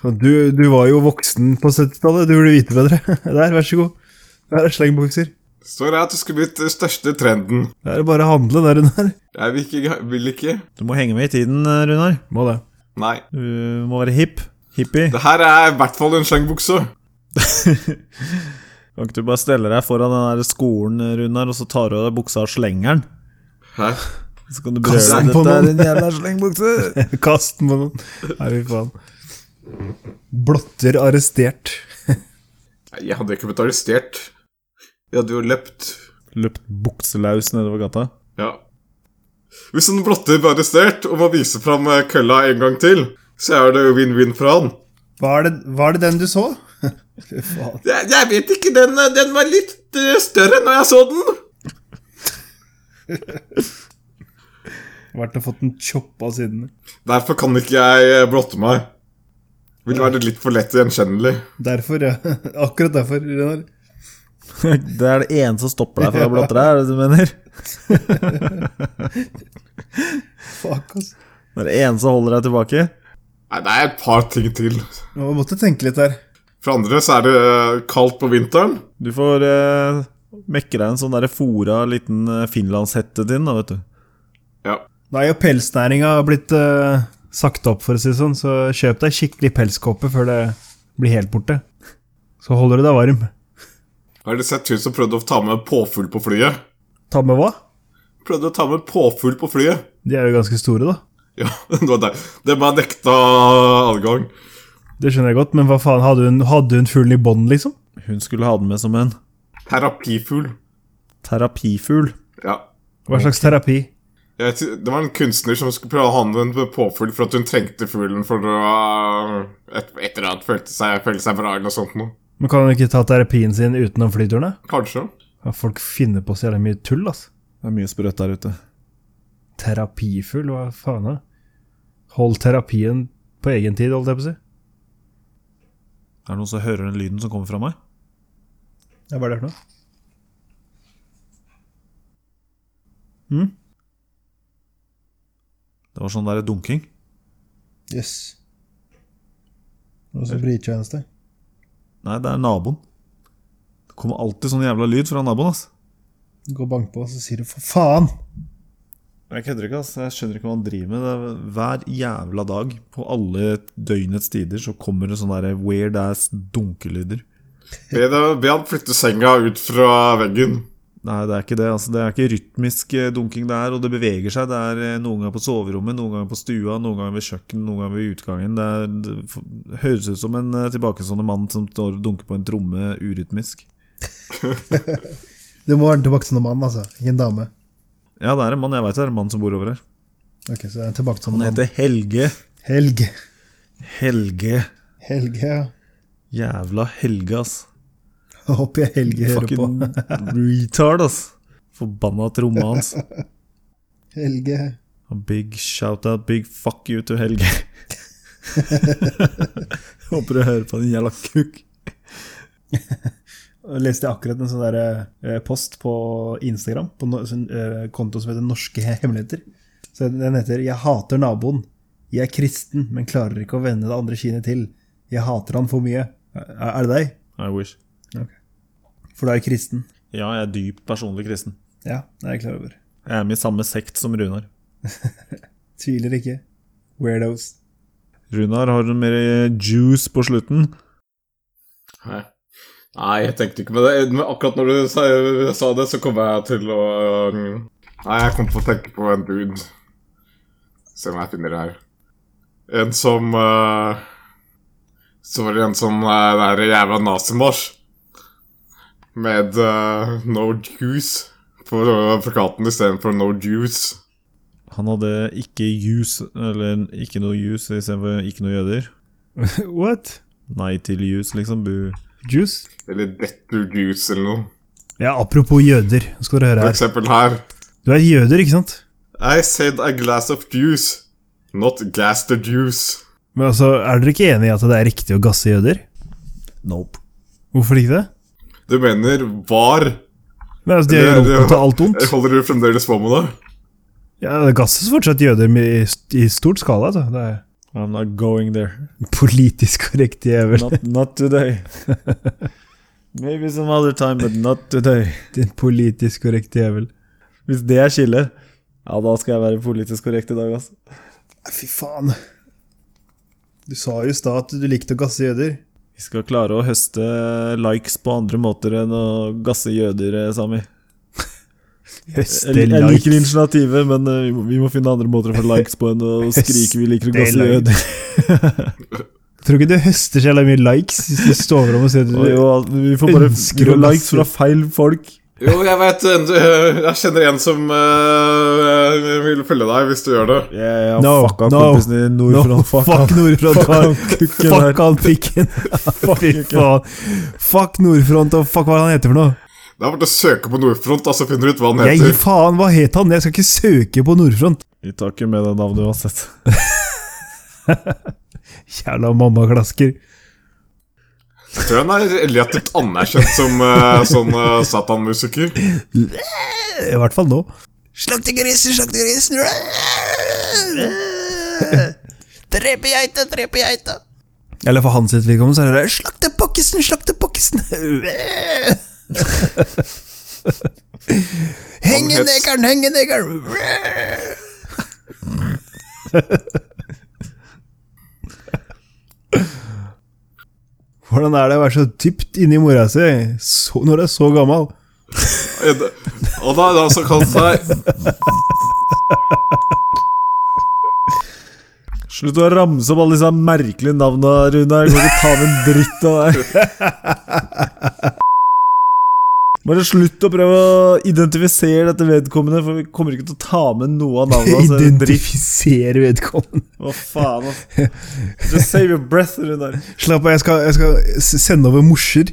S1: Du, du var jo voksen på 70-tallet, du burde vite bedre. Der, vær så god. Der er slengbukser.
S3: Står det at det skulle blitt den største trenden.
S1: Det er bare å handle der under.
S3: Jeg vil ikke. Vil ikke.
S2: du må henge med i tiden, eh, Runar.
S1: Må det.
S3: Nei.
S2: Du må være hipp. Hippie.
S3: Det her er i hvert fall en slengbukse.
S2: Kan ikke du bare stelle deg foran den der skolen, eh, Runar, og så tar du av deg buksa og slenger den?
S3: Hæ?
S2: Så kan du
S1: Kast
S2: brøle
S1: den på
S2: Dette er
S1: noen.
S2: en jævla slengbukse!
S1: Kast den på noen. Nei, fy faen. Blotter arrestert.
S3: Nei, Jeg hadde ikke blitt arrestert. Jeg hadde jo løpt.
S2: Løpt bukselaus nedover gata.
S3: Ja. Hvis en blotter blir arrestert og må vise fram eh, kølla en gang til, så er det jo win-win for han.
S1: Var det, var det den du så? Fy faen.
S3: Jeg, jeg vet ikke, den, eh, den var litt eh, større når jeg så den.
S1: Vært og fått den choppa siden.
S3: Derfor kan ikke jeg eh, blotte meg. Vil være litt for lett gjenkjennelig.
S1: Derfor, ja. Akkurat derfor, Runar.
S2: Det er det eneste som stopper deg fra å blotte deg, er det det du mener?
S1: Fuck, ass.
S2: Det er det eneste som holder deg tilbake?
S3: Nei, det er et par ting til.
S1: Jeg måtte tenke litt der.
S3: For andre så er det eh, kaldt på vinteren.
S2: Du får eh, mekke deg en sånn der fora liten eh, finlandshette din, da, vet du.
S3: Ja.
S1: Nei, og pelsnæringa har blitt eh, sagt opp, for å si det sånn, så kjøp deg skikkelig pelskåpe før det blir helt borte. Så holder du deg varm.
S3: Har dere sett hun som prøvde å ta med påfugl på flyet?
S1: Ta med hva?
S3: Prøvde å ta med påfugl på flyet.
S1: De er jo ganske store, da.
S3: Ja, det var der. Det var nekta adgang.
S1: Det skjønner jeg godt, men hva faen, hadde hun, hadde hun fuglen i bånd, liksom?
S2: Hun skulle ha den med som en
S3: Terapifugl.
S2: terapifugl.
S3: Ja.
S1: Hva slags terapi?
S3: Jeg vet, ikke, det var en kunstner som skulle prøve å ha med en påfugl for at hun trengte fuglen for å eh, et, et eller annet følte seg, følte seg bra eller noe sånt noe.
S1: Men kan hun ikke ta terapien sin utenom flyturene?
S3: Kanskje.
S1: Ja, folk finner på så jævlig mye tull, ass.
S2: Det er mye sprøtt der ute.
S1: Terapifugl, hva faen da? Hold terapien på egen tid, holdt jeg på å si.
S2: Er det noen som hører den lyden som kommer fra meg?
S1: Ja, hva er det for noe?
S2: Det var sånn der dunking.
S1: Jøss. Yes. Noe som brytjeneste.
S2: Nei, det er naboen. Det kommer alltid sånn jævla lyd fra naboen, ass.
S1: Gå og bank på, og så sier du for faen!
S2: Jeg kødder ikke, ass. Jeg skjønner ikke hva han driver med. Det er hver jævla dag, på alle døgnets tider, så kommer det sånne der weird ass dunkelyder.
S3: Be, det- be han flytte senga ut fra veggen.
S2: Nei, det er ikke det. altså. Det er ikke rytmisk eh, dunking det er, og det beveger seg. Det er eh, noen ganger på soverommet, noen ganger på stua, noen ganger ved kjøkkenet, noen ganger ved utgangen. Det, er, det f- høres ut som en eh, tilbakestående mann som står og dunker på en tromme urytmisk.
S4: Det må være en tilbakestående mann, altså. Ikke en dame.
S2: Ja, det er en mann. Jeg veit det er en mann som bor over her.
S4: Ok, så det er en
S2: Han
S4: tilbakestående mann.
S2: heter Helge.
S4: Helg.
S2: Helge.
S4: Helge, ja.
S2: Jævla Helge, ass.
S4: Jeg Håper jeg Helge hører på.
S2: Fucking retard, ass. Forbanna tromme hans.
S4: Helge.
S2: A Big shout-out, big fuck you to Helge. Håper du hører på, din jævla kukk.
S1: Jeg leste akkurat en sånn der, eh, post på Instagram, på no, sånn, eh, konto som heter Norske hemmeligheter. Så den heter 'Jeg hater naboen'. 'Jeg er kristen, men klarer ikke å vende det andre kinnet til'. 'Jeg hater han for mye'. Er, er det deg?
S2: I wish.
S1: For du er kristen.
S2: Ja, jeg er dypt personlig kristen.
S1: Ja, det er jeg klar over.
S2: Jeg er med i samme sekt som Runar.
S1: Tviler ikke. Weirdos.
S2: Runar, har du mer juice på slutten?
S3: Nei. Nei, jeg tenkte ikke på det. Men akkurat når du sa, sa det, så kom jeg til å øh, Nei, jeg kom til å tenke på en dude. Se om jeg finner det her. En som øh, Så var det en som uh, Det her jævla nazimarsj. Med eh, øh, no juice på plakaten istedenfor no juice.
S2: Han hadde ikke jus, eller ikke noe jus istedenfor ikke noe jøder.
S4: What?
S2: Nei til jus, liksom. Bu.
S4: Juice?
S3: Eller Detto Goose eller noe.
S4: Ja, apropos jøder, nå skal dere høre
S3: For
S4: her.
S3: eksempel her.
S4: Du er jøder, ikke sant?
S3: I said a glass of juice, not glass the juice.
S4: Men altså, er dere ikke enig i at det er riktig å gasse jøder?
S2: Nope.
S4: Hvorfor ikke det?
S3: Du mener var?
S4: Men altså, De er jo
S3: Det- det-
S4: roten til alt ondt.
S3: Holder du fremdeles på med det?
S4: Ja, Det gasses fortsatt jøder med- i, st- i stort skala. Altså. Det er
S2: I'm not going there.
S4: politisk korrekt jævel.
S2: Not, not today. Maybe some other time, but not today.
S4: Din politisk korrekte jævel.
S2: Hvis det er skillet, ja, da skal jeg være politisk korrekt i dag, altså.
S4: Nei, Fy faen. Du sa jo i stad at du likte å gasse jøder.
S2: Vi skal klare å høste likes på andre måter enn å gasse jøder, eh, Sami.
S4: Høste
S2: Jeg, jeg liker
S4: likes.
S2: initiativet, men eh, vi må, vi må finne andre måter å få likes på enn å skrike 'vi liker å
S4: Høste
S2: gasse
S4: likes.
S2: jøder'.
S4: Tror ikke du høster så jævla mye likes hvis du står over om og sier at
S2: Og
S4: du
S2: Jo, vi får bare vi
S4: Ønsker å
S2: får likes
S4: gasse.
S2: fra feil folk.
S3: Jo, jeg vet en- øh, Jeg kjenner en som øh, vil følge deg hvis du gjør det.
S2: Yeah,
S4: No,
S2: fucka
S4: no,
S2: kompisen din nordfra.
S4: no,
S2: fuck
S4: fuck
S2: han.
S4: Nordfront,
S2: Fuck han
S4: fuck-
S2: kukken
S4: Fuck
S2: her.
S4: han pikken! Fy faen. Fuck Nordfront og fuck hva han heter for noe.
S3: Det er bare å søke på Nordfront, og så finner du ut hva han
S4: Jeg gir
S3: heter.
S4: faen, hva het han? Jeg skal ikke søke på Nordfront.
S2: Vi tar ikke med det navnet uansett.
S4: Jævla mammaklasker.
S3: Jeg tror han er relativt anerkjent som øh, sånn øh, satanmusiker.
S4: I hvert fall nå. Slakte grisen, slakte grisen! Drepe geita, drepe geita! Eller for hans sitt vedkommende så er det Slakte pokkisen, slakte pokkisen! Henge
S3: het-
S4: negeren, henge negeren! Hvordan er det å være så dypt inni mora si så, når du er så gammel?
S3: Og da er det altså kalt seg
S2: Slutt å ramse opp alle disse merkelige navna, Rune. Jeg kan ikke ta med en dritt av deg. Bare slutt å prøve å identifisere dette vedkommende, for vi kommer ikke til å ta med noe av navnet hans.
S4: altså,
S2: Det er en dritt.
S4: Identifisere vedkommende.
S2: Hva faen, ass. Just save your breath, Runar.
S4: Slapp av, jeg skal, jeg skal s- sende over morser.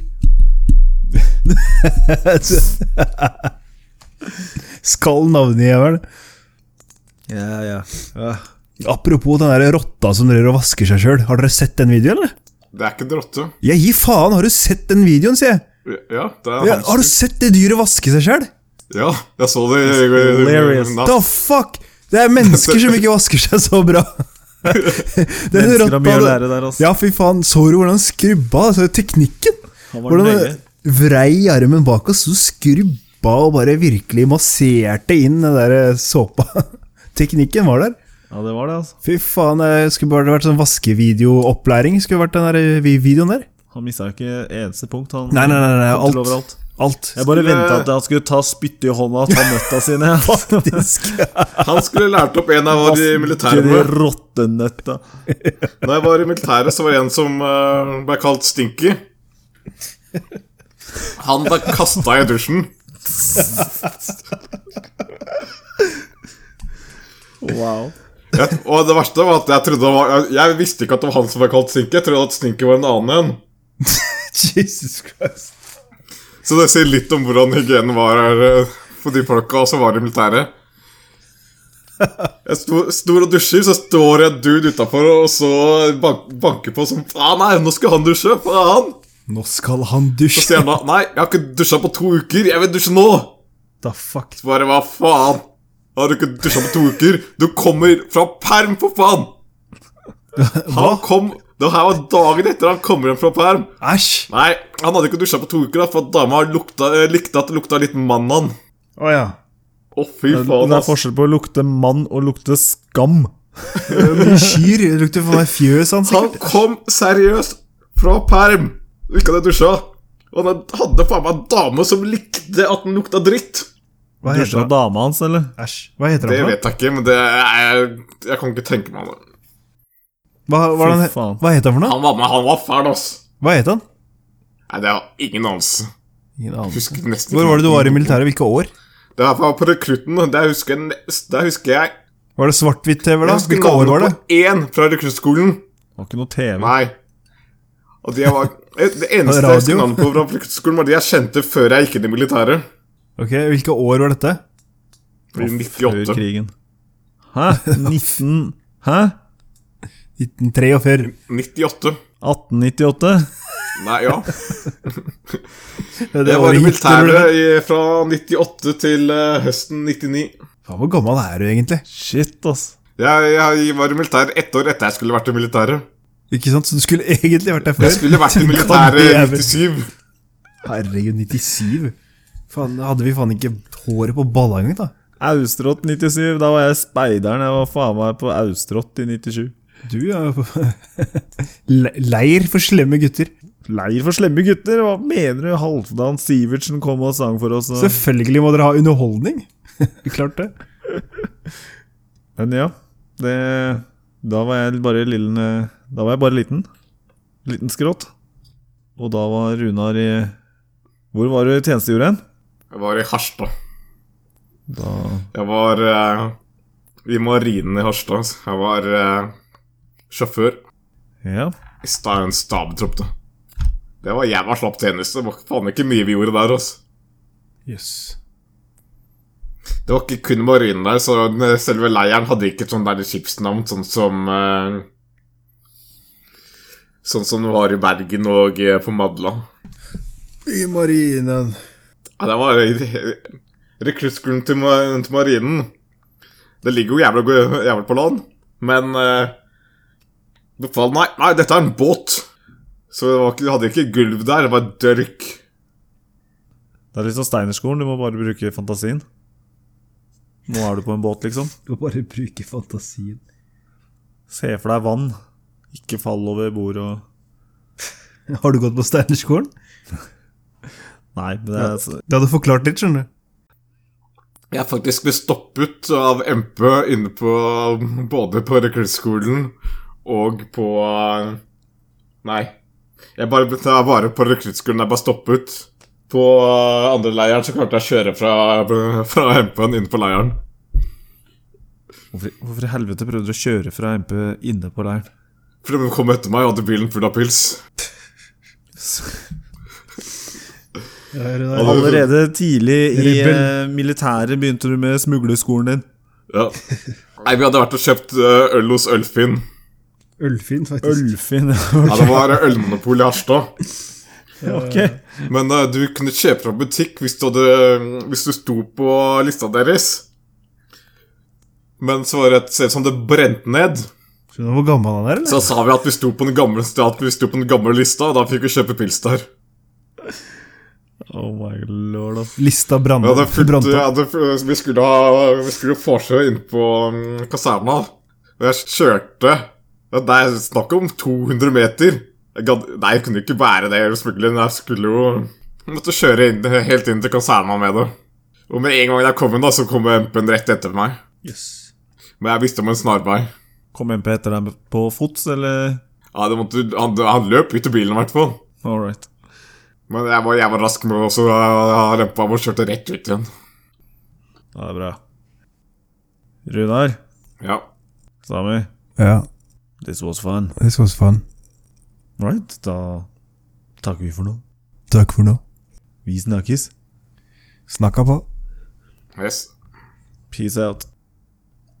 S4: skal navnegiveren.
S2: Ja, ja. ja.
S4: Apropos den der rotta som driver og vasker seg sjøl. Har dere sett den videoen, eller?
S3: Det er ikke en rotte.
S4: Jeg gir faen, har du sett den videoen, sier jeg?
S3: Ja, det er
S4: Ja, har du
S3: hamster.
S4: sett det dyret vaske seg sjøl?
S3: Ja, jeg så det i
S2: Hilarious.
S3: i natt.
S4: The fuck! Det er mennesker som ikke vasker seg så bra. Den
S2: Mennesker har mye å
S4: rotta-
S2: lære der, ass.
S4: Ja, fy faen. Så du hvordan han skrubba? Altså, teknikken!
S2: Han var
S4: Hvordan
S2: nøye.
S4: han vrei armen bak og så skrubba og bare virkelig masserte inn den der eh, såpa. Teknikken var der.
S2: Ja, det var det, altså.
S4: Fy faen, det skulle bare vært sånn vaskevideoopplæring. Skulle vært den der eh, vi- videoen der.
S2: Han mista jo ikke eneste punkt. Han
S4: Nei, nei, nei, nei,
S2: kom til
S4: alt.
S2: overalt.
S4: Alt.
S2: Jeg bare
S3: Skulle-
S2: venta at han skulle ta spyttet i hånda og ta nøtta sine. ass.
S4: Faktisk.
S3: Han skulle lært opp en jeg var i militæret
S2: Vaske de
S3: med.
S2: Rottenøtta.
S3: Da jeg var i militæret, så var det en som eh, ble kalt Stinky. Han ble kasta i dusjen.
S2: Wow.
S3: Jeg, og det verste var at jeg trodde det var, jeg, jeg visste ikke at det var han som ble kalt Stinky. Jeg trodde at Stinky var en annen en.
S4: Jesus Christ.
S3: Så det sier litt om hvordan hygienen var her eh, for de folka som var i militæret. Jeg sto, står og dusjer, så står en dude utafor og så bank, banker på som ah, Nei, nå skal han dusje! Faen!
S4: Nå skal han
S3: Så
S4: dusje.
S3: sier han da Nei, jeg har ikke dusja på to uker! Jeg vil dusje nå!
S4: Da fuck.
S3: Så bare hva faen? Har du ikke dusja på to uker? Du kommer fra perm, for faen! Han kom Det her var dagen etter han kommer hjem fra perm.
S4: Æsj.
S3: Nei, han hadde ikke dusja på to uker, da, for at dama lukta, eh, likte at det lukta litt mannan.
S4: Å ja.
S3: Å, fy
S2: Det det
S3: faen,
S2: er
S3: ass.
S2: forskjell på å lukte mann og lukte skam.
S4: Mye kyr. Det lukter for meg fjøs, han
S3: Han
S4: sikkert.
S3: kom seriøst fra perm og ikke hadde dusja. Og han hadde faen meg en dame som likte at den lukta dritt.
S4: Hva heter
S2: Dusja
S4: han?
S2: dama hans, eller?
S4: Æsj. Hva heter
S3: Det
S4: han? for noe?
S3: vet jeg ikke, men det jeg, jeg kan ikke tenke meg det.
S4: Hva, hva,
S2: Fy
S4: er
S2: faen.
S4: han- hva heter han for noe?
S3: Han var med, han var fæl, ass.
S4: Hva heter han?
S3: Nei, det har ingen anelse.
S4: Ingen
S3: Jeg
S4: anelse.
S3: Husker nesten
S4: Hvor
S3: ikke
S4: var det du
S3: navnet.
S4: var i militæret? Hvilke år?
S3: Det var på rekrutten. Der husker jeg, nes- der husker jeg
S1: Var det svart-hvitt-TV, da?
S3: Jeg husker
S1: Hvilke år var det?
S3: navnet på én fra rekruttskolen.
S2: Det var ikke noe TV.
S3: Nei. Og det var Det eneste jeg husker
S1: Radio.
S3: navnet på fra rekruttskolen, var de jeg kjente før jeg gikk inn i militæret.
S1: Ok, Hvilke år var dette?
S3: I
S2: Før
S3: 98.
S2: krigen. Hæ? 19... Hæ?
S1: 1943.
S3: 98.
S2: 1898?
S3: Nei, ja.
S1: Det,
S3: Jeg var i
S1: året gikk til-
S3: militæret i- fra 98 til eh, høsten 99.
S1: Faen, Hvor gammel er du egentlig?
S2: Shit, ass.
S3: Jeg, jeg var i militæret ett år etter jeg skulle vært i militæret.
S1: Ikke sant? Så du skulle egentlig vært der før?
S3: Jeg skulle vært i
S1: Du kan
S3: militæret i
S1: leve.
S3: 97.
S1: Herregud, 97? Faen, hadde vi faen ikke håret på balla engang, da?
S2: Austrått 97. Da var jeg speideren. Jeg var faen meg på Austrått i 97.
S1: Du er jo Le- Leir for slemme gutter.
S2: Leir for slemme gutter? Hva mener du? Halvdan Sivertsen kom og sang for oss. Og...
S1: Selvfølgelig må dere ha underholdning. Klart det.
S2: Men ja, det Da var jeg bare lille Da var jeg bare liten. Liten skrått. Og da var Runar i Hvor var du tjenestegjorde hen?
S3: Jeg var i Harstad.
S2: Da
S3: Jeg var eh, i marinen i Harstad. altså. Jeg var eh, sjåfør
S2: Ja.
S3: i sta- en stabtropp, da. Det var jævla slapp tjeneste. Det var faen ikke mye vi gjorde der, altså.
S1: Jøss.
S3: Det var ikke kun marinen der, så den- selve leiren hadde ikke et sånt der skipsnavn, sånn som eh, Sånn som det var i Bergen og eh, på Madla.
S1: I marinen.
S3: Ja, det var rekruttskolen til, ma- til marinen. Det ligger jo jævla, go- jævla på land, men eh, befal nei, nei, dette er en båt! Så det var ikke, hadde ikke gulv der, det var dørk.
S2: Det er litt som Steinerskolen, du må bare bruke fantasien. Nå er du på en båt, liksom.
S1: Du må bare bruke fantasien.
S2: Se for deg vann. Ikke fall over bordet og
S1: Har du gått på Steinerskolen?
S2: Nei, men det er
S1: Det hadde forklart litt, skjønner du.
S3: Jeg faktisk ble stoppet av MP inne på både på rekruttskolen og på Nei. Jeg bare ble jeg var bare på rekruttskolen, jeg bare stoppet. På eh, andre leiren så klarte jeg å kjøre fra, fra MP-en inn på leiren.
S2: Hvorfor, hvorfor i helvete prøvde du å kjøre fra MP inne på leiren?
S3: For de kom etter meg og hadde bilen full av pils.
S4: Ja, er det der?
S2: Allerede tidlig i
S1: Rebell.
S2: eh, militæret begynte du med smuglerskolen din.
S3: Ja. Nei, vi hadde vært og kjøpt eh, øl hos Ølfinn.
S4: Ølfin, faktisk.
S2: Ølfin.
S3: Ja, det var ølmonopol i Harstad.
S2: ok.
S3: Men eh, du kunne kjøpe fra butikk hvis du, hadde, eh, hvis du sto på lista deres. Men så var det et sted som det brente ned.
S1: Skjønner du hvor gammel han er, eller?
S3: Så da sa vi at vi sto på den gamle, at vi sto på den gamle lista, og da fikk vi kjøpe pils der.
S2: Oh my lord, ass.
S1: Lista brant
S3: Vi, hadde fulgt,
S1: brant
S3: vi,
S1: opp.
S3: hadde, vi skulle ha Vi skulle jo forsøke inn på mm, kaserna. Og jeg kjørte ja, Det er snakk om 200 meter. Jeg gadd, nei, jeg kunne ikke bære det. selvfølgelig, men Jeg skulle jo jeg måtte kjøre inn, helt inn til kaserna med det. Og med en gang jeg kom inn, da, så kom MP-en rett etter meg.
S1: Yes.
S3: Men jeg visste om en snarvei.
S2: Kom MP etter deg på fots, eller?
S3: Ja, det måtte, han, han løp ut av bilen, i hvert fall.
S2: All right.
S3: Men jeg var, jeg var rask med å lempe av og kjørte rett ut igjen.
S2: Ja, det er bra. Runar,
S3: Ja.
S2: Sami,
S1: Ja,
S2: this was fun.
S1: det skal også faen.
S2: Right, da takker vi for nå.
S1: Takk for nå.
S2: Vi snakkes.
S1: Snakka på.
S3: Yes.
S2: Peace out.